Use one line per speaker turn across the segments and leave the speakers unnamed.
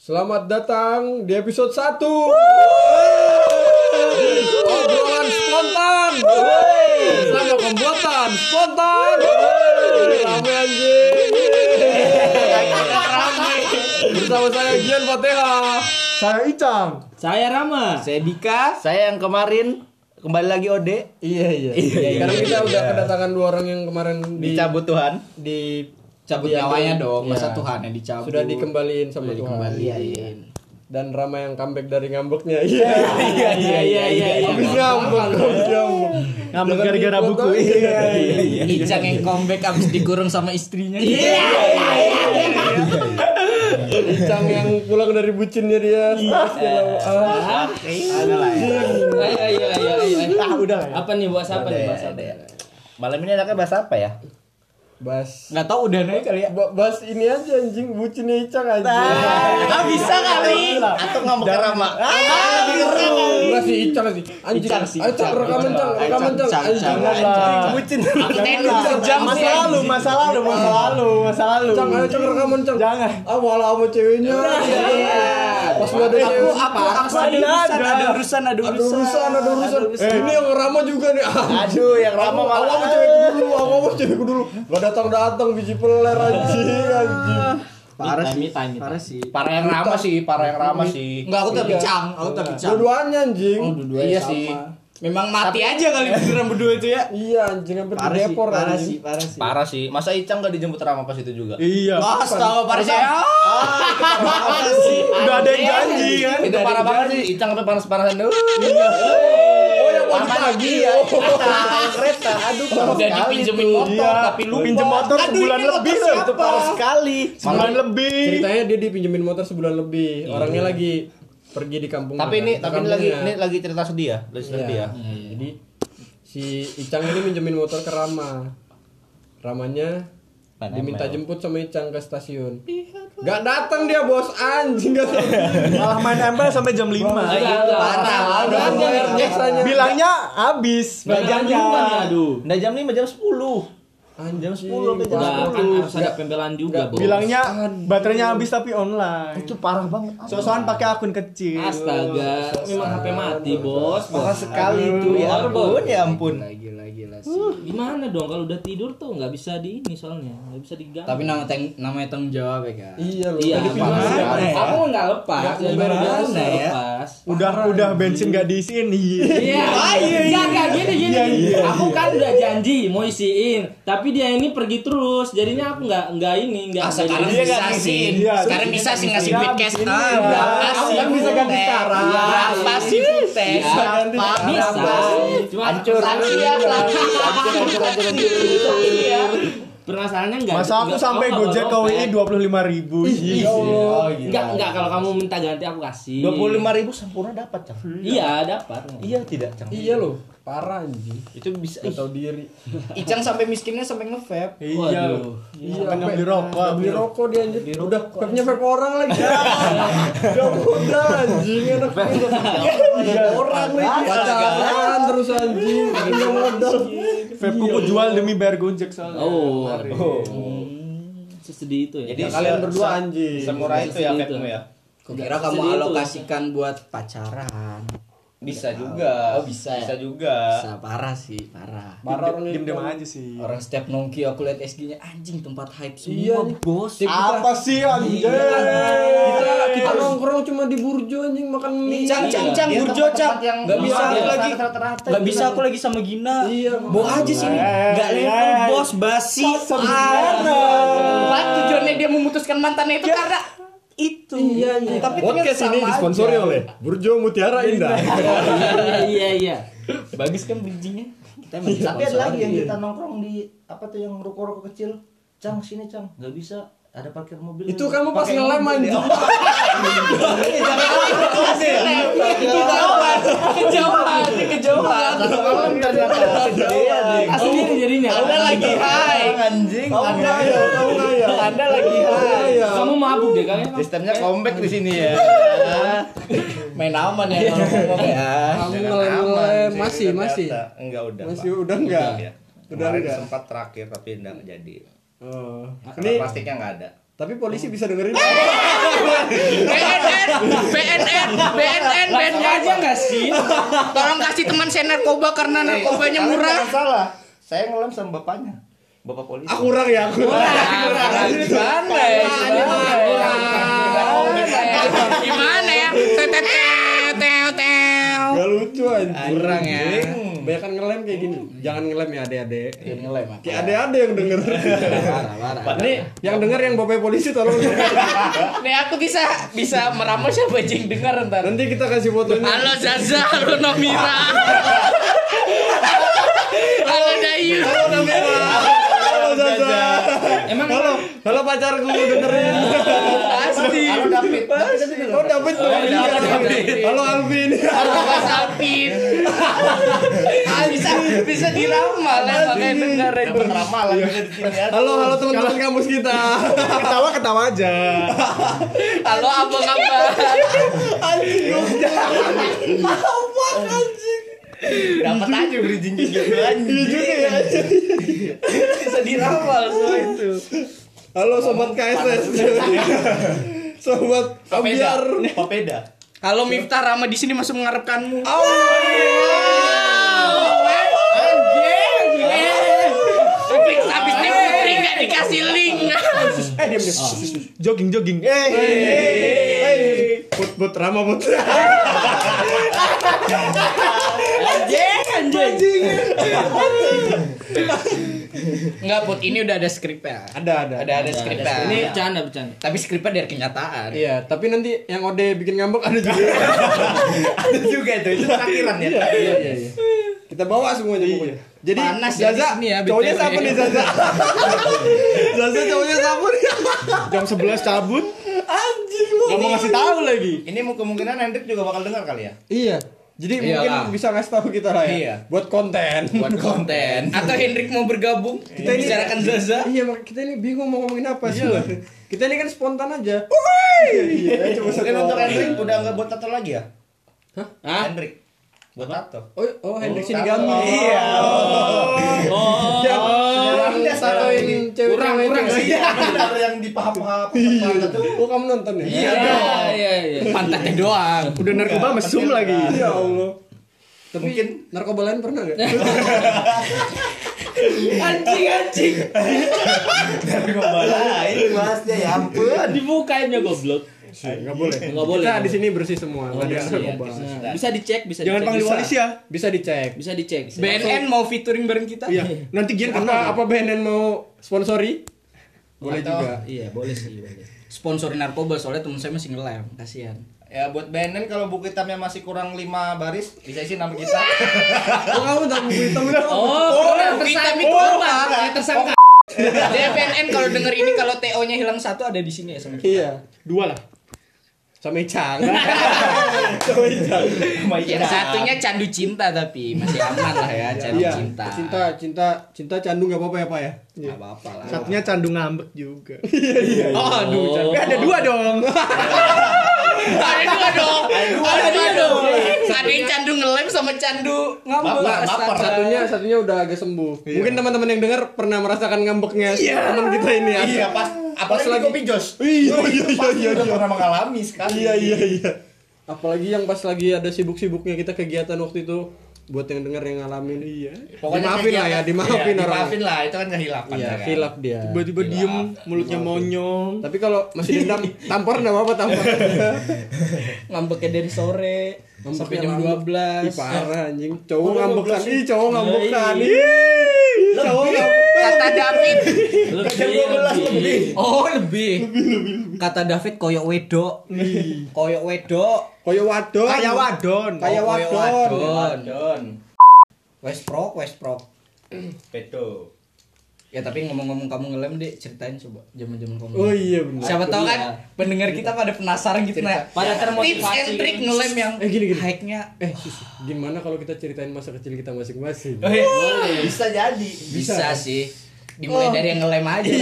Selamat datang di episode 1 Obrolan spontan Sama pembuatan spontan Rame anjing Bersama saya Gian Fateha
Saya Icang.
Saya Rama. Saya Dika. Saya yang kemarin kembali lagi Ode
Iya iya Sekarang kita udah kedatangan dua orang yang kemarin di,
dicabut Tuhan. Iya,
dicabut
cabut nyawanya dong masa Tuhan yang dicabut
Sudah dikembaliin sama Tuhan
iya
Dan Rama yang comeback dari ngambeknya Iya
Iya iya iya iya.
Habis ngambek habis Ngambek
Ngambek
Jangan
gara-gara
dibuat
buku.
lagi.
Iya,
Icang yang comeback abis digurung sama istrinya iya
Icang yang pulang dari bucinnya dia. Ah,
Ayo
Iya,
ayo ayo ayo.
Ah, udah lah ya.
Apa nih bahas apa nih bahas apa? Malam ini anaknya bahas apa ya?
Bas.
nggak tahu udah naik kali ya
Ba- Bas ini aja anjing bucinnya Icang aja.
Ah bisa kali. Atau ngomong ke Rama.
Enggak sih Icang sih. Anjing.
Icang sih,
Ayo Cang,
Icang.
rekaman Cang, rekaman Cang.
Icang,
Anjing.
Icang,
Jangan lah.
Bucin.
Tendang sejam
Masa
sih.
lalu, masa lalu, masa lalu, masa lalu.
Cang, ayo Cang rekaman Cang.
Jangan.
Ah, wala sama ceweknya. Pas lu ada cewek.
apa
Aku ada urusan, ada urusan, ada
Ada urusan, ada urusan. Eh, Ini yang Rama juga nih. Ah,
Aduh yang Rama
Aku
malah.
sama cewekku dulu, aku sama cewekku dulu. Gak datang-datang biji peler anjing, anjing.
parah sih parah sih
Parah yang Rama sih, parah yang Rama sih.
nggak aku tapi Icang aku tapi Icang
Dua-duanya anjing.
Iya sih.
memang mati aja kali beneran berdua itu ya
Iya anjing hampir
Parah sih,
didepor
parah
anjing.
sih, parah sih.
Parah sih. Masa Icang gak dijemput Rama pas itu juga?
Iya.
Astaga, parah sih.
Ah, Udah ada yang janji kan?
Iya, Itu parah banget sih. Icang sampai panas-panasan dulu.
Oh yang mau ditagi ya.
Oh.
Kereta, aduh, parah
Udah
sekali.
dipinjemin motor tapi lupa.
Pinjam motor sebulan lebih loh, itu parah sekali. Sebulan lebih.
Ceritanya dia dipinjemin motor sebulan lebih. Orangnya lagi pergi di kampung.
Iya. Tapi ini
Ke
tapi ini lagi ini
kampungnya.
lagi cerita sedih ya, lagi cerita sedih
Iya.
ya.
Jadi si Icang ini minjemin motor ke Rama. Ramanya
Main
diminta
ML.
jemput sama Icang ke stasiun. Gak datang dia bos anjing gak datang.
Malah main embel sampai jam 5.
parah
Gak
parah
bayar jasanya.
Bilangnya habis
ya,
bajannya.
aduh. Nah jam 5 jam 10.
Anjing,
Jam 10 sampai jam
parah.
Nah, 10.
kan harus ada pembelaan juga bos
Bilangnya baterainya habis tapi online.
Itu parah banget.
Sosokan pakai akun kecil.
astaga memang HP mati bos
Parah sekali itu ya ampun ya ampun.
Gimana dong kalau udah tidur tuh nggak bisa di ini soalnya nggak bisa digang.
Tapi nama tang namanya tanggung jawab ya kan.
Iya loh.
iya,
Tadi
gimana?
pinjemin.
ya? Aku nggak lepas,
Nggak
ya,
lepas.
gimana
Nggak
ya?
Udah udah bensin gak diisiin. Iya.
Iya, iya, iya, gini gini. Aku kan udah janji mau isiin, tapi dia ini pergi terus, jadinya aku nggak nggak ini nggak.
Ah,
nggak
sekarang
jadi-
Dia
bisa
nggak
sih.
ngisiin, iya.
Sekarang
Terus
bisa
dia
sih
nggak
ngasih
ngisiin.
duit cash.
Iya,
Ah,
iya.
berapa
Aku
sih?
kan bisa ganti Iya,
Teh?
sekarang.
Berapa sih duit teh? Berapa?
bisa. Cuma
Hancur.
Lagi ya, lagi.
Iya. Permasalahannya nggak.
Masa aku
nggak-
sampai
nggak
Gojek
apa-apa.
kau ini 25 ribu iya.
ya iya.
Nggak nggak kalau kamu minta ganti aku kasih.
25 ribu sempurna dapat, Cang.
Iya dapat.
Iya tidak, Cang.
Iya loh, parah anjing. Iya,
Itu bisa
Gak tau diri.
Icang sampai miskinnya sampai nge-vape.
Iya
Waduh.
Iya,
Sampai nggak
vape.
beli rokok.
Nggak beli rokok dia anjir. Udah vape-nya vape orang lagi. Ya udah anjing enak banget. Vape orang lagi. Pacaran terus anjing. Punya modal.
Vape ku ku jual demi bayar Gojek soalnya
Oh,
Kemarin.
Hmm, sesedih itu ya.
Jadi
Kalian
se-
berdua
se-
anjing.
Semurah itu ya
Seperti itu.
vape-mu ya.
Kira kamu
Sedih itu.
alokasikan buat pacaran.
Bisa juga.
Oh, bisa ya?
Bisa juga.
Bisa parah sih, parah.
Parah orang ini.
Diem-diem aja sih
Orang setiap nongki aku lihat SG-nya anjing tempat hype
Iya,
semua bos.
Apa sih anjing Iya.
Kita kita nongkrong cuma di burjo anjing makan mie.
Cang cang cang
Iya.
Iya,
burjo cang. Gak bisa aku lagi. Gak bisa aku lagi sama Gina.
Iya,
Bawa aja sini. Gak
Eh,
level
eh.
bos basi.
Sebenarnya
Pak tujuannya dia memutuskan mantannya itu karena itu.
Iya, iya.
Tapi
Podcast ini
ternyata sama
disponsori
aja.
oleh Burjo Mutiara Indah.
Iya iya iya.
Bagus kan bridgingnya?
Tapi ada lagi yang kita nongkrong di apa tuh yang ruko-ruko kecil. Cang sini, Cang. Gak bisa. Ada parkir mobil. ya. Iya,
Itu kamu pas ngelem anjing. Iya,
Kejauhan, kejauhan, kejauhan.
Iya,
Sendiri jadinya.
Anda lagi high.
anjing.
Tahu nggak ya? Tahu nggak ya?
Anda lagi
Tahu
high.
nggak ya?
Kamu mabuk deh kalian.
Sistemnya comeback di sini ya.
Main aman ya kalau ngomong ya.
Kamu
Ah, Jangan
ngelem-ngelem
aman,
masih
ternyata.
masih.
Enggak udah.
Masih
Pak.
udah enggak?
Ya.
Udah
Kemarin
enggak?
sempat terakhir tapi enggak jadi.
Oh.
Karena
Ini
plastiknya enggak ada.
Tapi polisi bisa dengerin.
BNN, BNN, BNN,
Langsung
BNN.
aja nggak sih?
Tolong kasih teman saya narkoba karena narkobanya
Kalian
murah.
jangan salah. Saya ngelam sama bapaknya. Bapak polisi.
Aku kurang ya, aku kurang.
Murah, Gimana ya? Gimana? Gimana ya? Tetet, tetet, tetet.
Gak lucu anjing.
Kurang ya.
Banyak kan ngelem kayak gini. Jangan ngelem ya adek-adek.
ngelem ah.
Kayak adek-adek yang denger.
Nih,
yang denger yang bapak polisi tolong.
Nih aku bisa bisa meramal siapa yang dengar ntar.
Nanti kita kasih fotonya.
Halo Zaza, halo Nomira. halo Dayu.
Halo Zaza.
emang
Halo pacarku dengerin.
Pasti.
Halo David. David ada
Oh David tuh. Iya,
David.
Halo Alvin.
Halo Mas Alvin. Ah, bisa bisa diramal ya makanya dengerin.
ramalan bisa di sini ya.
Halo halo teman-teman kampus kita. Ketawa ketawa aja.
Halo abang apa?
Dapat aja bridging gitu anjing.
Bisa diramal semua itu.
Halo sobat KSS. sobat
Papeda.
ambiar.
Papeda.
Halo Miftah Rama di sini masih mengharapkanmu. Tapi Eh, habis delivery nggak dikasih link.
Eh,
Ah.
Jogging jogging.
Eh,
Hey. Eh. Put put Rama put.
Enggak, Put. Ini udah ada skripnya.
Ada ada.
Ada ada skripnya.
ini bercanda bercanda.
tapi skripnya dari kenyataan.
Iya, tapi nanti yang Ode bikin ngambek ada juga.
Itu juga itu itu terakhiran ya.
iya iya iya. Kita bawa semuanya pokoknya. Jadi
Iya. Panas ya
Zaza,
di sini ya,
cowoknya
BTW.
siapa nih Zaza? Zaza cowoknya siapa nih?
Jam 11 cabut.
Anjing lu.
Gak mau ngasih tahu lagi.
Ini mu- kemungkinan Hendrik juga bakal dengar kali ya.
Iya. Jadi mungkin
Iyalah.
bisa ngasih tahu kita lah ya.
Iya.
Buat konten.
Buat konten. Atau Hendrik mau bergabung? Kita
ini-
bicarakan Zaza.
Iya, mak- kita ini bingung mau ngomongin apa sih. Kita ini kan spontan aja. Iya, iya, coba
Mungkin
satu
untuk
orang.
Hendrik udah nggak buat tato lagi ya?
Hah?
Hendrik buat tato.
Oh, oh Hendrik
Tato.
Sinigami.
Iya.
Oh,
Yang
Kurang
yang satuin cewek
Kurang, kurang
cewek.
sih.
Iya, benar yang di paha-paha paha tuh.
Oh, kamu nonton ya?
Iya, iya, iya. Pantatnya doang.
Udah narkoba mesum lagi.
Ya Allah. Tapi
Mungkin
narkoba lain pernah gak?
anjing anjing.
dari ngobalai.
Ini bahasnya ya ampun.
Dibukainnya goblok.
Enggak boleh.
Nggak boleh.
Kita di sini bersih semua, enggak ada
Iya, iya.
narkoba.
Nah, Bisa dicek, bisa
Jangan
dicek.
panggil
Bisa.
polisi ya.
Bisa dicek.
Bisa dicek.
BNN mau featuring bareng kita?
Iya. Nanti Gian apa apa BNN mau sponsori? Boleh
Atau-
juga.
Iya, boleh sih, boleh.
Sponsorin narkoba soalnya temen saya masih nge-live. Kasihan.
Ya buat BNN kalau buku hitamnya masih kurang 5 baris bisa isi nama kita.
Oh, kamu tak buku hitam itu. apa?
Oh, tersangka itu apa?
Iya,
Ya, tersangka. Jadi BNN kalau denger ini kalau TO-nya hilang satu ada di sini ya sama kita.
Iya.
Dua lah.
Sama Icang.
Yang Iya, satunya candu cinta tapi masih aman lah ya candu
Iya.
cinta.
Cinta, cinta, cinta candu enggak apa-apa ya, Pak ya?
Gak apa-apa lah.
Satunya candu ngambek juga.
Oh, aduh, candu.
Ada dua dong.
Ada dua dong. Ada dua dong. Ada yang candu ngelem sama candu ngambek.
Baper, baper.
Astaga.
Satunya satunya udah agak sembuh. Mungkin teman-teman yang dengar pernah merasakan ngambeknya teman kita ini. ya. Asep.
Iya, pas apalagi
lagi-
lagi kopi jos.
Iya,
Itu
iya,
pasti
iya,
udah
iya.
pernah mengalami sekali.
Iya iya iya. Apalagi yang pas lagi ada sibuk-sibuknya kita kegiatan waktu itu buat yang denger yang ngalamin iya.
Pokoknya
dimaafin lah ya,
kegiatan-
dimaafin
iya,
orang.
Dimaafin lah, itu kan kehilapan
Iya,
ya kan.
hilaf dia.
Tiba-tiba diem, mulutnya monyong.
Tapi kalau masih dendam tampar enggak apa-apa tampar.
ngambeknya dari sore sampai jam
lama.
12.
Ih, parah anjing. Cowok ngambekan, ih cowok ngambekan.
Iya,
Ih, cowok
Kata David.
Lebih,
Jam 12 lebih.
Oh, lebih. Kata David koyok wedok. Koyok wedok.
Koyo wadon.
Kayak wadon. Oh.
Kayak wadon.
Don,
Westprok, Westprok.
pedo.
Ya tapi ngomong-ngomong kamu ngelem deh, ceritain coba zaman-zaman kamu.
Oh iya benar.
Siapa tahu kan pendengar kita pada penasaran gitu nah.
Pada termotivasi
Tips and
gitu.
trick ngelem yang
Eh, gini, gini.
hike-nya
Eh, Sus,
Eh,
gimana kalau kita ceritain masa kecil kita masing-masing?
Boleh. Bisa jadi.
bisa Oh. Iya. sih. dimulai dari yang ngelem aja.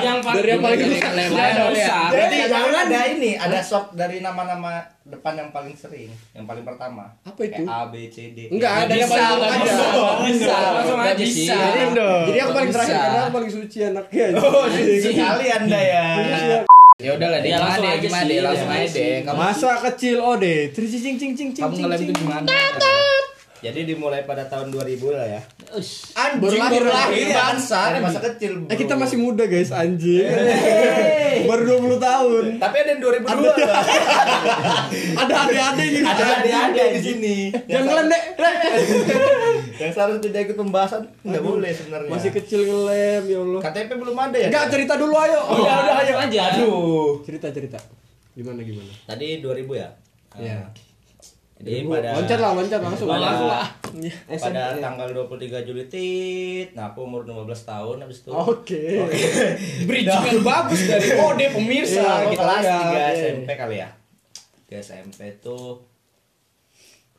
Yang paling
Dari yang paling
dari
rusak.
yang
Iya,
paling
iya.
rusak.
Jadi jangan ada ini, ada short dari nama-nama depan yang paling sering, yang paling pertama.
Apa itu?
Kayak A B C D. E.
Enggak, ada yang
Bisa,
paling
nggak
aja.
bisa, nggak bisa. Langsung
Nggak
aja sih.
bisa.
Jadi aku
Nggak
paling terakhir
bisa.
karena aku paling suci anaknya.
Oh,
Iya.
sekali Anda ya.
Ya udahlah, deh.
Ya,
Gimana
langsung
deh,
aja sih.
gimana deh, langsung
Ya,
aja deh. Kamu
Masa kecil ode, tri cing cing cing cing
kamu
cing.
ngelem itu gimana? Ya,
Jadi dimulai pada tahun 2000 lah ya.
Ush.
Anjing
Baru lahir,
baru
lahir,
lahir,
bangsa.
Ada masa kecil.
Eh kita
bro.
masih muda guys anjing.
Eh.
Baru 20 tahun.
Tapi ada yang 2002
ya.
lah.
Ada adik-adik
Iya.
gitu.
Ada adik-adik di sini.
Yang ngelem deh.
Yang seharusnya tidak ikut pembahasan nggak boleh sebenarnya.
Masih kecil ngelem ya Allah.
KTP belum ada
iya.
ya?
Enggak cerita dulu ayo.
Oh,
Ya udah ayo aja.
Aduh.
Cerita cerita. Gimana gimana?
Tadi 2000 ya?
Ya.
Jadi pada
Loncat lah, loncat langsung.
pada,
Langsung lah.
pada tanggal 23 Juli tit. Nah, aku umur 15 tahun habis itu.
Oh, Oke.
Bridging yang bagus dari ode pemirsa.
Nah,
Iya,
aku
gitu
kelas
ya,
3
oke.
SMP kali ya. 3 SMP tuh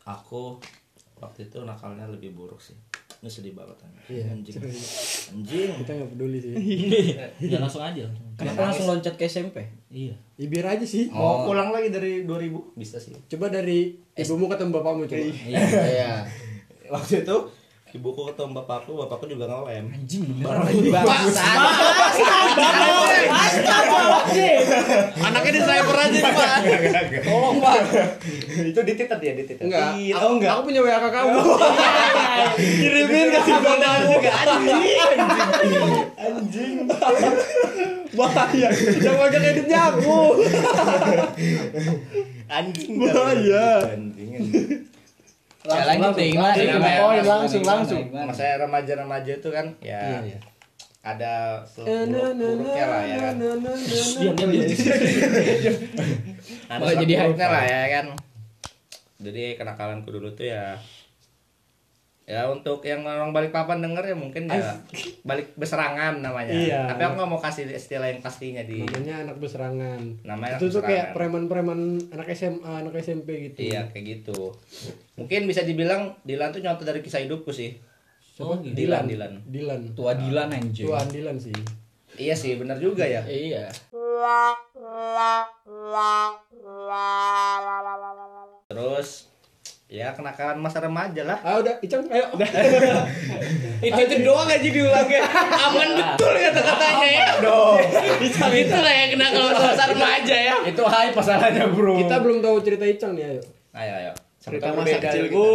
aku waktu itu nakalnya lebih buruk sih. Ini sedih banget anjing. Anjing. Anjing.
Iya, Kita nggak peduli sih.
Ya langsung aja.
Kenapa langsung loncat ke SMP?
Iya.
Ya, biar aja sih.
Mau pulang lagi dari 2000 bisa sih.
Coba dari ibumu ketemu bapakmu coba.
Iya.
Waktu itu ibuku ketemu bapakku, bapakku juga ngelem. Anjing.
Bangsa.
Anaknya di sniper aja nih, Pak. Tolong, Pak. Itu dititet ya, dititet.
Enggak.
Iya,
Aku,
oh enggak.
aku punya WA kakakmu.
Kirimin kasih gondang juga anjing.
Bahaya. Yang ngajak editnya aku.
Anjing.
Bahaya.
Anjing. anjing.
Ya, lanjut deh, gimana
Lanjut,
deh, gimana,
poin,
gimana,
langsung,
gimana,
langsung.
gimana?
Masa remaja-remaja itu kan ya ada buruk-buruknya lah ya kan.
Diam diam diam.
Ada
Malah jadi
buruk-buruknya
hype.
lah ya kan. Jadi kenakalanku dulu tuh ya Ya untuk yang orang balik papan denger ya mungkin ya balik beserangan namanya.
Iya.
Tapi aku nggak mau kasih istilah yang pastinya di
Namanya anak berserangan.
Namanya anak
itu tuh kayak
berserangan.
preman-preman anak SMA, anak SMP gitu.
Iya kayak gitu. Mungkin bisa dibilang Dilan tuh nyontoh dari kisah hidupku sih.
Oh,
Dilan, Dilan.
Dilan.
Tua Dilan anjing.
Tuan Dilan sih.
Iya sih, benar juga ya.
Iya.
Terus ya kenakalan masa remaja lah.
Ah udah, Icang ayo.
Itu itu doang aja diulangnya. Aman betul kata-katanya ya. Dong. Itu lah yang kena kalau besar remaja ya.
Itu hai masalahnya, Bro.
Kita belum tahu cerita Icang nih ayo.
Ayo ayo.
Cerita
Sampai
masa
berbeda
kecilku.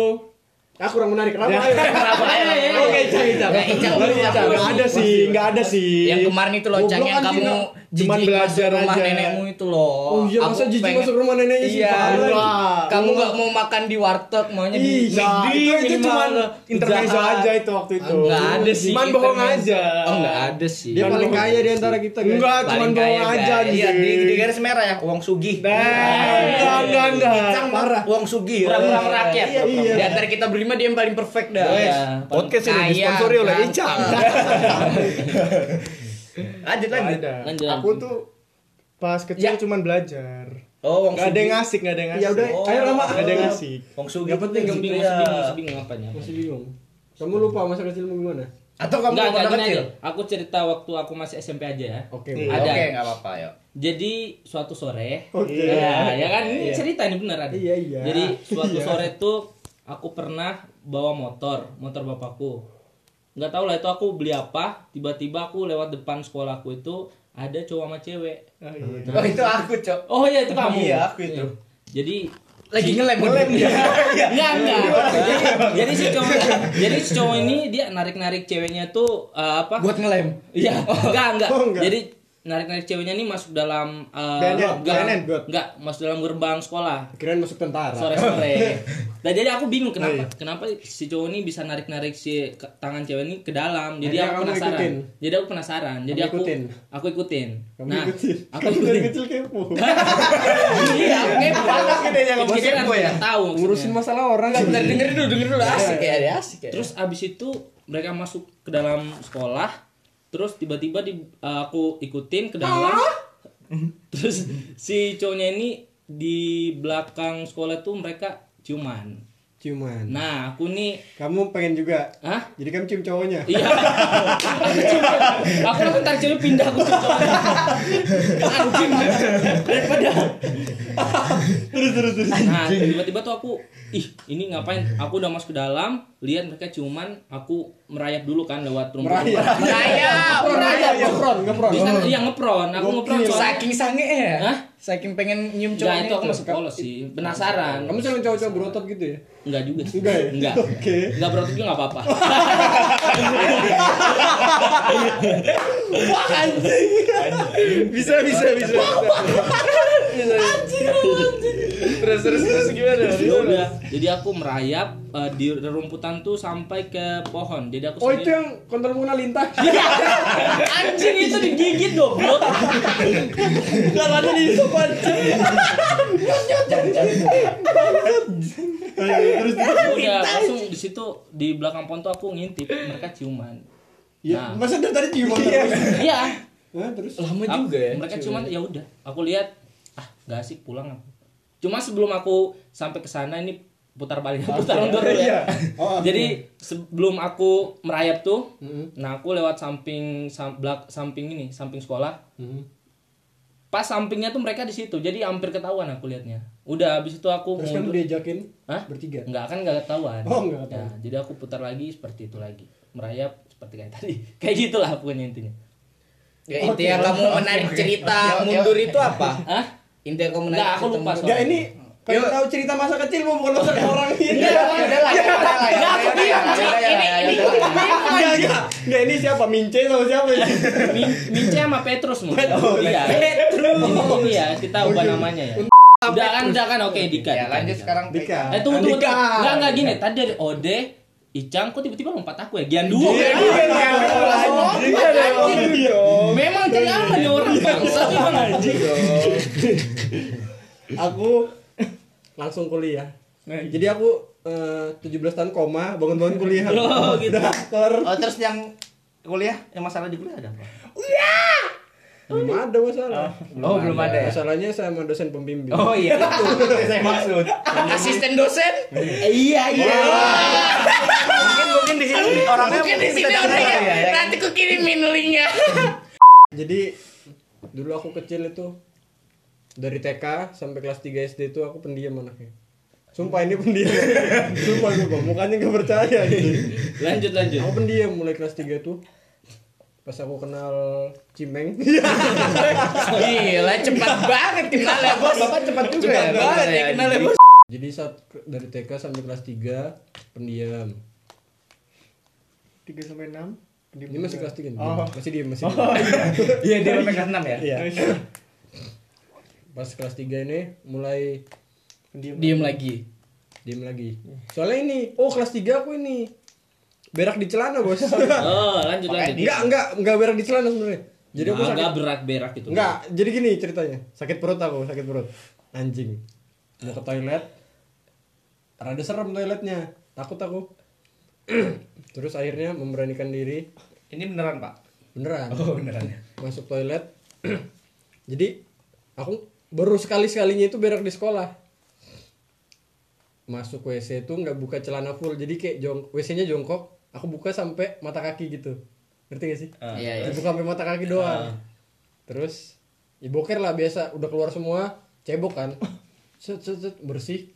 Ah kurang menarik kenapa ayo? Oke, Icang, Icang.
Nggak, Icang,
Baru
aku-
Icang.
aku-
Ada sih, enggak ada sih.
Yang kemarin itu loh, Cang,
Goblok
yang
anjing,
kamu
Nak. Cuman
jijik masuk
belajar
rumah
aja.
nenekmu itu loh.
Oh iya, masa jijik masuk rumah neneknya sih?
Iya,
Parah.
wah. kamu nggak mau makan di warteg, maunya di
Ih, nah,
McD,
itu, itu
minimal.
cuman intermezzo
Jahat.
aja itu waktu itu.
Nggak ada sih.
Cuman bohong
intermezzo.
aja.
Oh, nggak ada sih.
Dia paling kaya di antara kita, guys. Enggak,
Paling
cuman
kaya,
bohong aja
guys.
anjing.
Iya, di, di
kan.
garis merah ya, uang sugih. Iya.
Enggak, enggak, enggak.
Cang
Parah.
uang sugih.
Kurang-kurang rakyat.
Iya, iya.
Di antara kita berlima dia yang paling perfect dah.
Yes.
Podcast ini disponsori oleh Icang.
Lanjut lanjut.
Lanjut.
Aku tuh pas kecil cuman belajar.
Oh, uang
Gak ada yang
sugih.
asik, gak ada yang asik.
Ya udah, ayo lama.
Gak ada yang asik.
Uang sugih.
Enggak penting,
Masih
enggak penting.
bingung, masih bingung, masih bingung apa nih?
Masih bingung. Kamu lupa masa kecilmu gimana?
Atau kamu
Enggak, enggak
udah
gini
kecil?
aja. Aku cerita waktu aku masih SMP aja ya.
Oke.
Iya.
Ada.
Oke, enggak apa-apa, yuk.
Jadi suatu sore,
Oke.
ya, ya kan ini cerita ini benar ada.
Iya, iya.
Jadi suatu sore tuh aku pernah bawa motor, motor bapakku. Nggak tahu lah itu aku beli apa, tiba-tiba aku lewat depan sekolahku itu ada cowok sama cewek.
iya.
Oh, itu aku, Cok.
Oh iya itu kamu.
Iya, aku itu. Iya.
Jadi
Lagi ngelem. Ngelem
enggak enggak. Jadi, jadi si cowok jadi si cowok ini dia narik-narik ceweknya tuh eh, apa?
Buat ngelem.
Iya, enggak, enggak.
Oh, enggak.
Jadi narik-narik ceweknya nih masuk dalam eh,
BNN,
gang-
BNN.
enggak, masuk dalam gerbang sekolah
Kirain masuk tentara.
sore-sore. Nah, jadi aku bingung
Iya.
kenapa kenapa si cowok ini bisa narik-narik si ke- tangan cewek ini ke dalam. Jadi
Akhirnya
aku
kamu
penasaran.
ikutin.
Jadi aku penasaran. Jadi
Kamu
aku
ikutin.
aku ikutin.
Kamu
nah,
ikutin.
aku
Kamu dari
ikutin.
kecil kepo.
Iya, aku kepo.
Gede yang
Jadi kan
kepo ya.
Tahu. maksudnya.
Ngurusin masalah orang
Bentar,
sih.
dengerin dulu, dengerin dulu. Asik ya, dia asik
Iya.
ya.
Terus abis itu mereka masuk ke dalam sekolah, terus tiba-tiba di eh, aku ikutin ke dalam. Terus si cowoknya ini di belakang sekolah tuh mereka ciuman.
ciuman
Nah, aku nih,
kamu pengen juga
ah,
jadi kamu cium cowoknya
Iya. Aku cuma aku langsung tarik cewek pindah aku cuma anjing daripada terus terus terus. Nah, tiba-tiba tuh aku ih, ini ngapain? Aku udah masuk ke dalam, lihat mereka cuman aku merayap dulu kan lewat rumput. Merayap.
Saya
Iya,
merayap.
ngepron ngepron
Bisa iya ngepron, aku ngepron soalnya.
Saking sange ya.
Hah?
Saking pengen nyium
Nah,
cowoknya
itu aku masuk polos sih, penasaran.
kamu sering cowok-cowok berotot gitu ya
Enggak juga sih.
Enggak ya?
Enggak.
Oke.
Enggak berotot juga enggak apa-apa.
Bisa bisa bisa. Bisa. Terus terus terus
Oh,
gimana?
iya,
Ya udah, jadi aku merayap eh, di rumputan tuh sampai ke pohon. Jadi aku
oh
sendiri-
itu yang kontrol muna lintas
Anjing itu digigit goblok. Kalau ada di sopan. Udah langsung di situ di belakang pon tuh aku ngintip mereka ciuman.
ya
Nah.
masa dari tadi ciuman terus
Iya.
Hah, terus
Lama
aku-
juga ya.
Mereka ciuman ya udah. Aku lihat ah gak asik pulang aku. Cuma sebelum aku sampai ke sana ini putar balik putar mundur dulu ya.
Oh,
Jadi sebelum aku merayap tuh, nah aku lewat samping sam, belak- samping ini, samping sekolah. Pas sampingnya tuh mereka di situ. Jadi hampir ketahuan aku liatnya. Udah habis itu aku
terus kamu
mundur.
diajakin
Hah?
bertiga
Enggak kan enggak ketahuan.
Oh, nggak ketahuan.
Ya, jadi aku putar lagi seperti itu lagi. Merayap seperti kayak tadi. Kayak gitulah pokoknya intinya.
Ya intinya kamu menarik cerita mundur itu apa?
Hah?
Intinya kamu menarik
Enggak, aku
cerita
lupa
mundur.
ya ini Iya. pengen tahu cerita masa kecil mau bukan masa orang ini
Udah lah, udah lah, udah lah, udah lah, udah lah, udah lah, udah lah, udah lah.
Enggak, enggak. Enggak, ini siapa? Mince sama siapa ini?
Min- Mince sama Petrus mungkin. iya. Petrus. Ini, ini ya kita
Oh,
ubah
iya.
namanya ya. Udah kan, udah kan, oke Dika.
Iya,
Ya
Dika,
lanjut
Dika.
sekarang
Dika.
Eh tunggu tunggu.
Andika.
tunggu. Enggak enggak gini. Tadi dari Ode, Icang kok tiba-tiba lompat aku ya? Gian dua.
Oh, iya.
Oh, Memang cari aman nih orang bangsa. Memang anjing.
Aku langsung kuliah. Jadi aku eh, 17 tahun koma, bangun-bangun kuliah.
Oh, gitu.
Daftar.
Oh terus yang kuliah, yang masalah di kuliah ada apa?
Belum ada masalah.
Oh belum ada ya?
Masalahnya sama dosen pembimbing.
Oh iya itu saya maksud. Asisten dosen? Iya iya.
mungkin mungkin di sini orangnya
Mungkin di sini
ya.
orangnya.
ya,
Nanti ku kirimin linknya.
Jadi dulu aku kecil itu dari TK sampai kelas 3 SD itu aku pendiam anaknya. Sumpah ini pendiam. Sumpah sumpah, mukanya gak percaya gitu.
Lanjut lanjut.
Aku pendiam mulai kelas 3 tuh pas aku kenal Cimeng.
Gila cepat banget kenal ya bos.
Bapak cepat juga
Cepat
ya.
banget ya kenal ya bos.
Jadi saat ke- dari TK sampai kelas 3 pendiam.
3 sampai 6
Ini masih kelas 3
Oh.
Masih diem, masih diem.
Iya dia sampai kelas 6 ya?
Iya. Pas kelas 3 ini mulai
Diem lagi.
diem lagi. Soalnya ini, oh kelas 3 aku ini berak di celana, Bos.
Oh, lanjut lanjut.
enggak, enggak, enggak berak di celana sebenarnya. Jadi aku sakit.
agak berak-berak gitu.
Enggak, jadi gini ceritanya. Sakit perut aku, sakit perut. Anjing. Mau ke toilet. Rada serem toiletnya. Takut aku. Terus akhirnya memberanikan diri.
Ini beneran pak?
Beneran.
Oh beneran ya.
Masuk toilet. jadi aku baru sekali-sekalinya itu berak di sekolah. Masuk WC itu nggak buka celana full. Jadi kayak jong WC-nya jongkok. Aku buka sampai mata kaki gitu. Ngerti gak sih?
Iya iya.
Dibuka sampai mata kaki doang. Terus ya boker lah biasa, udah keluar semua, cebok kan. Set set set bersih.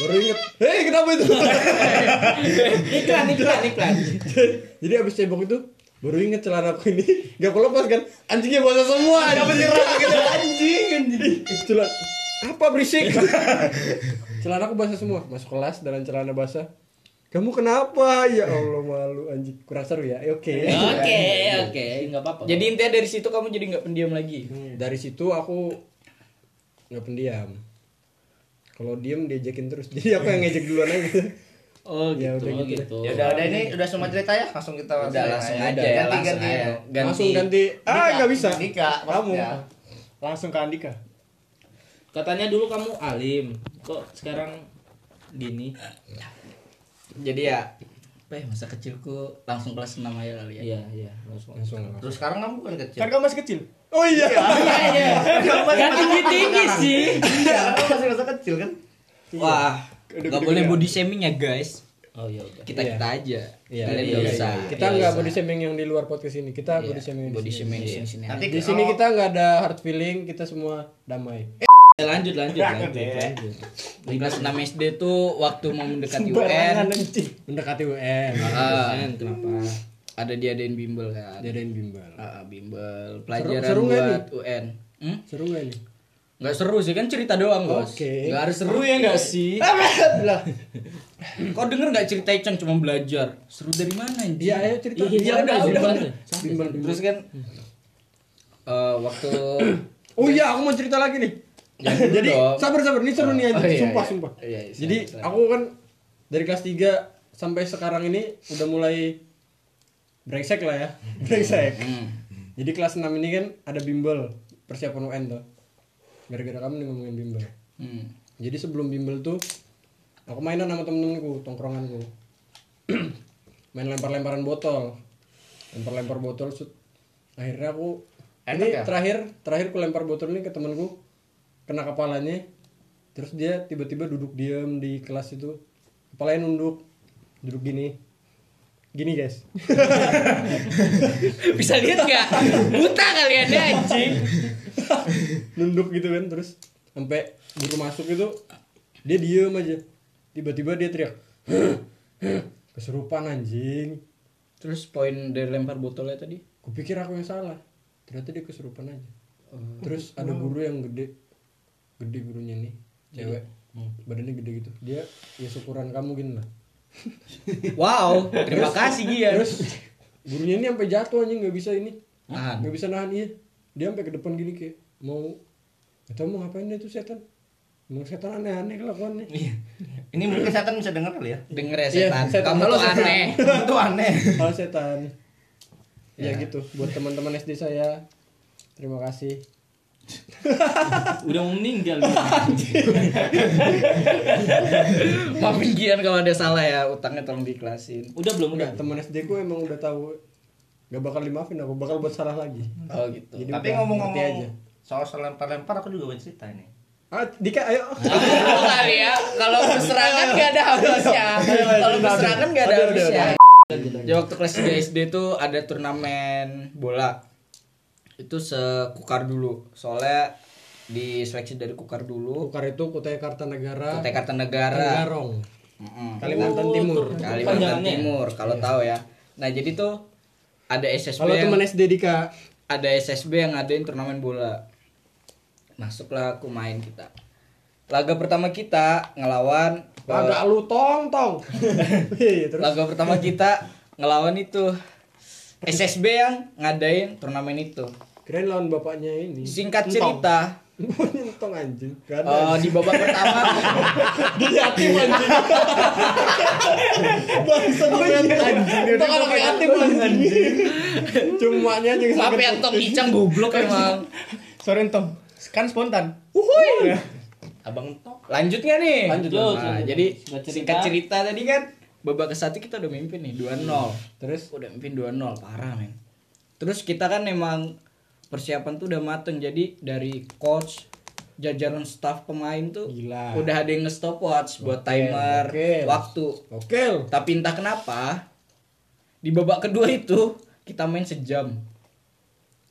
Baru inget, hei kenapa itu?
Iklan iklan iklan.
Jadi abis cebok itu baru inget celana aku ini gak aku lepas kan anjingnya basah semua anjing gitu anjing anjing celana apa berisik celana aku basah semua masuk kelas dalam celana basah kamu kenapa ya Allah malu anjing kurang seru ya Eh, oke
Oke,
iya.
oke, enggak apa-apa.
Jadi intinya dari situ kamu jadi nggak pendiam lagi.
dari situ aku nggak pendiam kalau diem diajakin terus jadi aku yang ngejek duluan aja
oh gitu.
Ya, udah
oh,
gitu.
gitu.
Ya udah udah ini udah semua cerita ya langsung kita
Udah, langsung aja ya,
ganti
langsung
ganti
aja.
ganti
langsung ganti ah
Dika,
nggak bisa
Dika,
kamu
maksudnya.
langsung ke Andika
Katanya dulu kamu alim, kok sekarang gini?
jadi ya apa ya, masa kecilku langsung kelas 6 aja kali ya
Iya, iya, langsung.
langsung
terus sekarang kamu bukan kecil
kan kamu masih kecil
oh iya
iya
Gak tinggi tinggi sih.
kamu masih masa kecil kan wah
Gak boleh body shaming ya guys.
Oh iya udah.
Kita kita aja.
Iya,
Kalian
iya,
nggak
iya,
usah.
Kita nggak Iya, body shaming yang di luar podcast ini. Kita body shaming
Iya, body
di sini. Iya.
shaming di sini. sini aja.
Nanti
Di
oh.
sini kita nggak ada hard feeling, kita semua damai. Eh,
Ya, lanjut lanjut lanjut. lanjut. Di kelas 6 SD tuh waktu mau mendekati UN.
Iya,
Mendekati UN,
ah, kenapa? Ada diadain bimbel kan.
jadain bimbel.
Ah, bimbel pelajaran
Iya. seru nggak
buat UN. Hmm?
Seru gak nih?
Nggak seru sih kan cerita doang bos.
Oke.
Nggak harus seru ya nggak sih. Kau denger nggak cerita Icon cuma belajar. Seru dari mana ini?
Iya, ayo cerita.
Iya, udah, udah.
Bimbel, bimbel.
Terus kan eh, waktu
Oh iya, aku mau cerita lagi nih.
Jangan dulu
Jadi
dong.
sabar sabar, ini seru nih aja.
Oh, iya,
sumpah
iya.
sumpah.
Iya, iya,
Jadi
silakan,
aku kan dari kelas 3 sampai sekarang ini udah mulai brengsek lah ya.
Hmm.
Brengsek. Jadi kelas 6 ini kan ada bimbel persiapan UN tuh. Gara-gara kamu nih ngomongin bimbel.
Hmm.
Jadi sebelum bimbel tuh aku mainan sama temen-temenku, tongkronganku. Main lempar-lemparan botol. Lempar-lempar botol shoot. Akhirnya aku ini terakhir terakhir ku lempar botol ini ke temanku kena kepalanya terus dia tiba-tiba duduk diam di kelas itu kepalanya nunduk duduk gini gini guys
bisa lihat nggak? Buta kalian ya anjing.
nunduk gitu kan terus sampai guru masuk itu dia diem aja tiba-tiba dia teriak keserupan anjing
Terus poin dari lempar botolnya tadi?
kupikir aku yang salah ternyata dia keserupan aja
Oh.
terus ada guru yang gede gede gurunya nih
Iya.
cewek
Hmm.
badannya gede gitu dia ya syukuran kamu gini lah
Wow, terima kasih Gian.
terus gurunya ini sampai jatuh anjing nggak bisa ini
Nahan.
nggak bisa nahan iya dia sampai ke depan gini kayak mau nggak tahu mau ngapain dia tuh setan Emang setan aneh-aneh kelakuannya
Ini mungkin setan bisa denger kali ya.
Denger ya
Iya,
Iya, setan,
setan.
kamu
Halo,
tuh
setan.
aneh.
Itu aneh.
Hal setan ya. gitu buat teman-teman SD saya terima kasih
Udah mau meninggal.
Maafin Gian kalau ada salah ya, utangnya tolong diklasin.
udah belum udah.
Enggak, teman SD ku emang udah tahu gak bakal dimaafin aku bakal buat salah lagi
Oh gitu.
Tapi
Jadi udah, ngerti
ngomong-ngomong soal soal lempar-lempar aku juga mau cerita ini.
ah Dika ayo
Kalau kali ya, kalau berserangan nggak ada
Iya,
habisnya. Kalau berserangan nggak ada
Aduh, aduh,
habisnya.
Jadi waktu kelas 3 SD tuh ada turnamen bola. Itu sekukar dulu. Soalnya diseleksi dari kukar dulu
Bukar itu Kutai Kartanegara
ke Kartanegara.
Tenggarong
Mm-mm.
Kalimantan Timur
Kalimantan Timur kalau
Iya.
tahu ya. Nah, jadi tuh ada SSB
kalau
yang-
teman SD Dika
ada SSB yang ngadain turnamen bola. Masuklah aku main kita. Laga pertama kita ngelawan eh,
agak lu tong tong Iya, terus
laga pertama kita ngelawan itu SSB yang ngadain turnamen itu.
kirain lawan bapaknya ini
Singkat
Entong.
cerita,
Nyentong anjing. Gak ada.
eh, di babak pertama
Bangsa di mental anjing.
Itu kalau kreatif gitu.
anjing. Cuma nya anjing
Maaf ya
sakit.
Tong Icang goblok emang.
Sorry Tom, kan spontan.
Abang Tong.
lanjut nggak nih?
Lanjut,
Nah,
lanjut, lanjut.
jadi
Singkat cerita.
singkat cerita tadi kan babak ke satu kita udah mimpin nih 2-0.
Terus
udah mimpin 2-0 parah men terus kita kan emang persiapan tuh udah mateng jadi dari coach jajaran staff pemain tuh
Gila.
udah ada yang nge-stopwatch buat timer
oke.
waktu
oke.
tapi entah kenapa di babak kedua itu kita main sejam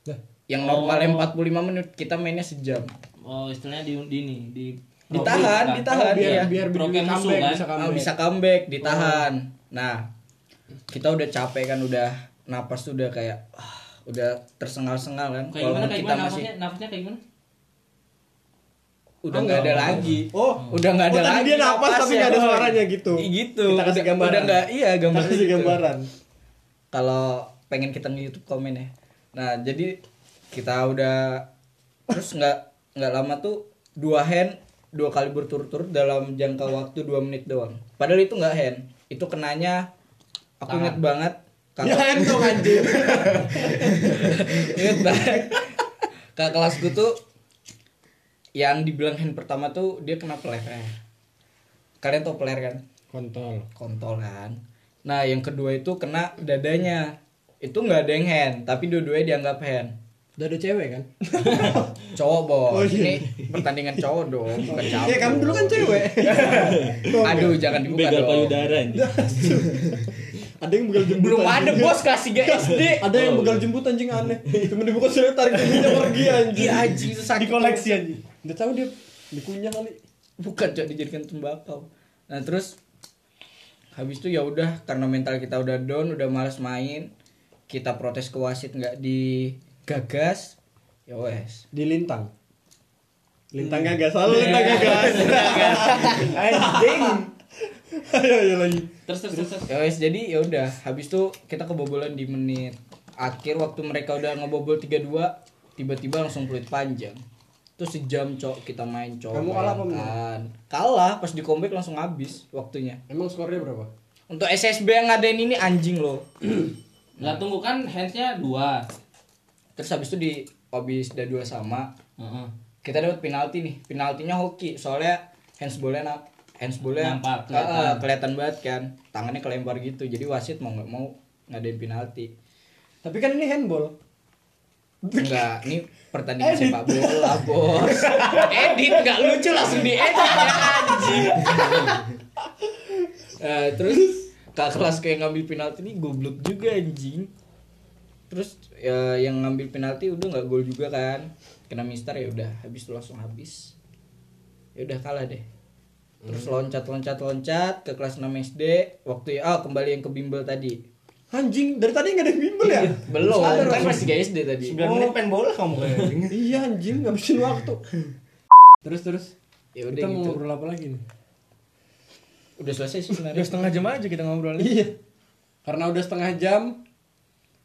Lah.
yang normalnya 45 menit kita mainnya sejam
Oh, istilahnya di di ini di Kan?
Ditahan, ditahan,
iya.
Biar biar
Program
biar
musuh
comeback,
kan.
Oh, bisa
Ah,
comeback. Oh.
bisa comeback ditahan nah kita udah capek kan udah napas tuh udah kayak ah, udah tersengal-sengal kan
Kayak gimana
kalau
kayak
kita
gimana
masih
nafasnya? Nafasnya kayak gimana?
udah nggak ada lagi
Ah, Oh,
udah nggak ada
Oh, tadi
lagi
dia napas tapi nggak ada
Boy.
suaranya gitu.
Iya, gitu
Kita kasih
Udah-
gambaran.
udah nggak iya
Kita
gambar
kasih
gitu.
gambaran.
kalau pengen kita nge YouTube komen ya nah jadi kita udah terus nggak nggak lama tuh dua hand dua kali berturut-turut dalam jangka waktu dua menit doang padahal itu nggak hand itu kenanya aku inget banget
Ya
kakak
entong anjing.
inget banget kakak kelasku tuh yang dibilang hand pertama tuh dia kena pelernya kalian tau peler kan
Kontol.
kontolan. Nah, yang kedua itu kena dadanya. Itu nggak ada yang hand, tapi dua-duanya dianggap hand.
Udah ada cewek kan?
Cowok bos.
Oh, iya.
Ini pertandingan cowok dong, bukan cowok.
Ya kamu dulu kan cewek.
Aduh, jangan dibuka
Begal
dong.
payudara ini.
ada yang begal jembut.
Belum
anjing.
ada bos kelas 3 SD.
Ada yang begal jembut anjing aneh. Cuma dibuka sulit tarik jembutnya pergi anjing.
Iya anjing itu sakit.
Di koleksi anjing.
Udah tahu dia dikunyah kali.
bukan cok dijadikan tembakau nah terus habis itu ya udah karena mental kita udah down udah malas main kita protes ke wasit nggak digagas ya wes
Di lintang. Iya. Lintang gagas, selalu lintang gagas. Ayo ayo lagi.
Terus terus terus. terus.
ya wes jadi ya udah habis itu kita kebobolan di menit akhir waktu mereka udah ngebobol 3-2 tiba-tiba langsung peluit panjang terus sejam cok kita main cok
Kamu kalah apa
bayangkan. kalah pas di comeback langsung habis waktunya
Emang skornya berapa?
untuk SSB yang ngadain ini anjing loh
Lah tunggu kan handsnya dua.
terus habis itu di habis udah dua sama
Heeh.
kita dapat penalti nih penaltinya hoki soalnya handsballnya na- handsballnya
Nampak,
Eh, eh,
kelihatan.
kelihatan. banget kan tangannya kelempar gitu jadi wasit mau nggak mau ngadain penalti
Tapi kan ini handball.
enggak ini pertandingan sepak bola bos
Edit enggak lucu langsung diedit ya anjing.
Eh, terus kak kelas kayak ngambil penalti ini goblok juga anjing terus ya, yang ngambil penalti udah nggak gol juga kan kena mister ya udah habis itu langsung habis ya udah kalah deh terus loncat loncat loncat ke kelas 6 SD waktu ya ah kembali yang ke bimbel tadi
Anjing, dari tadi nggak ada bimbel ya?
belum
Sadar
kan
langsung.
masih ke SD tadi
9 menit main bola kamu kayaknya.
Iya anjing, ngabisin waktu. Terus terus.
ya udah
Kita mau
gitu
ngobrol apa lagi nih?
udah selesai
Udah
sih sebenarnya
setengah jam aja kita ngobrol nih.
Iya. Karena udah setengah jam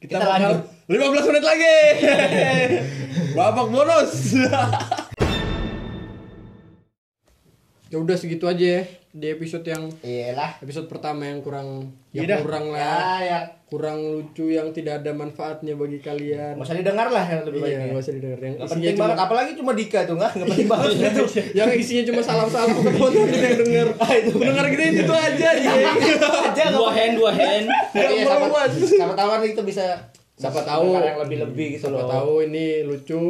kita,
Kita
bakal 15 menit lagi. Babak bonus. ya udah segitu aja ya di episode yang
Iyalah.
episode pertama yang kurang
Iya dah.
yang kurang
Ya,
lah
ya.
kurang lucu yang tidak ada manfaatnya bagi kalian
Nggak usah didengar lah yang lebih baik.
iya nggak usah didengar yang
Nggak
isinya
penting
cuma Iya.
banget, apalagi cuma Dika tuh nggak nggak penting banget itu.
yang isinya cuma salam salam ke penonton kita yang denger pendengar kita itu
Iya,
aja ya
Aja
Dua hand, dua hand.
Iya,
Nggak
siapa-
meluas.
Siapa tahu nih kita bisa
Siapa tahu.
mendengar yang lebih lebih gitu
Siapa
loh. Iya,
tahu ini lucu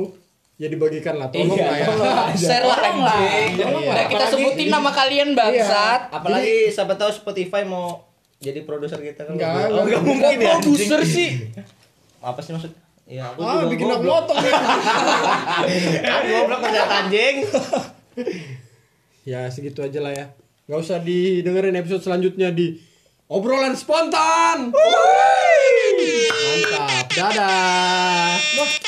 ya dibagikan lah tolong lah ya iya.
share lah anjing udah
Apalagi-
kita sebutin nama kalian bangsat
Apalagi siapa tahu Spotify mau jadi produser kita kan?
Nggak,
Oh, nggak mungkin ya. anjing.
produser sih
Apa sih maksud? Ya, aku
ah
juga
bikin aku
goblok.
motong
Aku goblok kerja anjing.
ya segitu aja lah ya nggak usah didengerin episode selanjutnya di obrolan spontan mantap dadah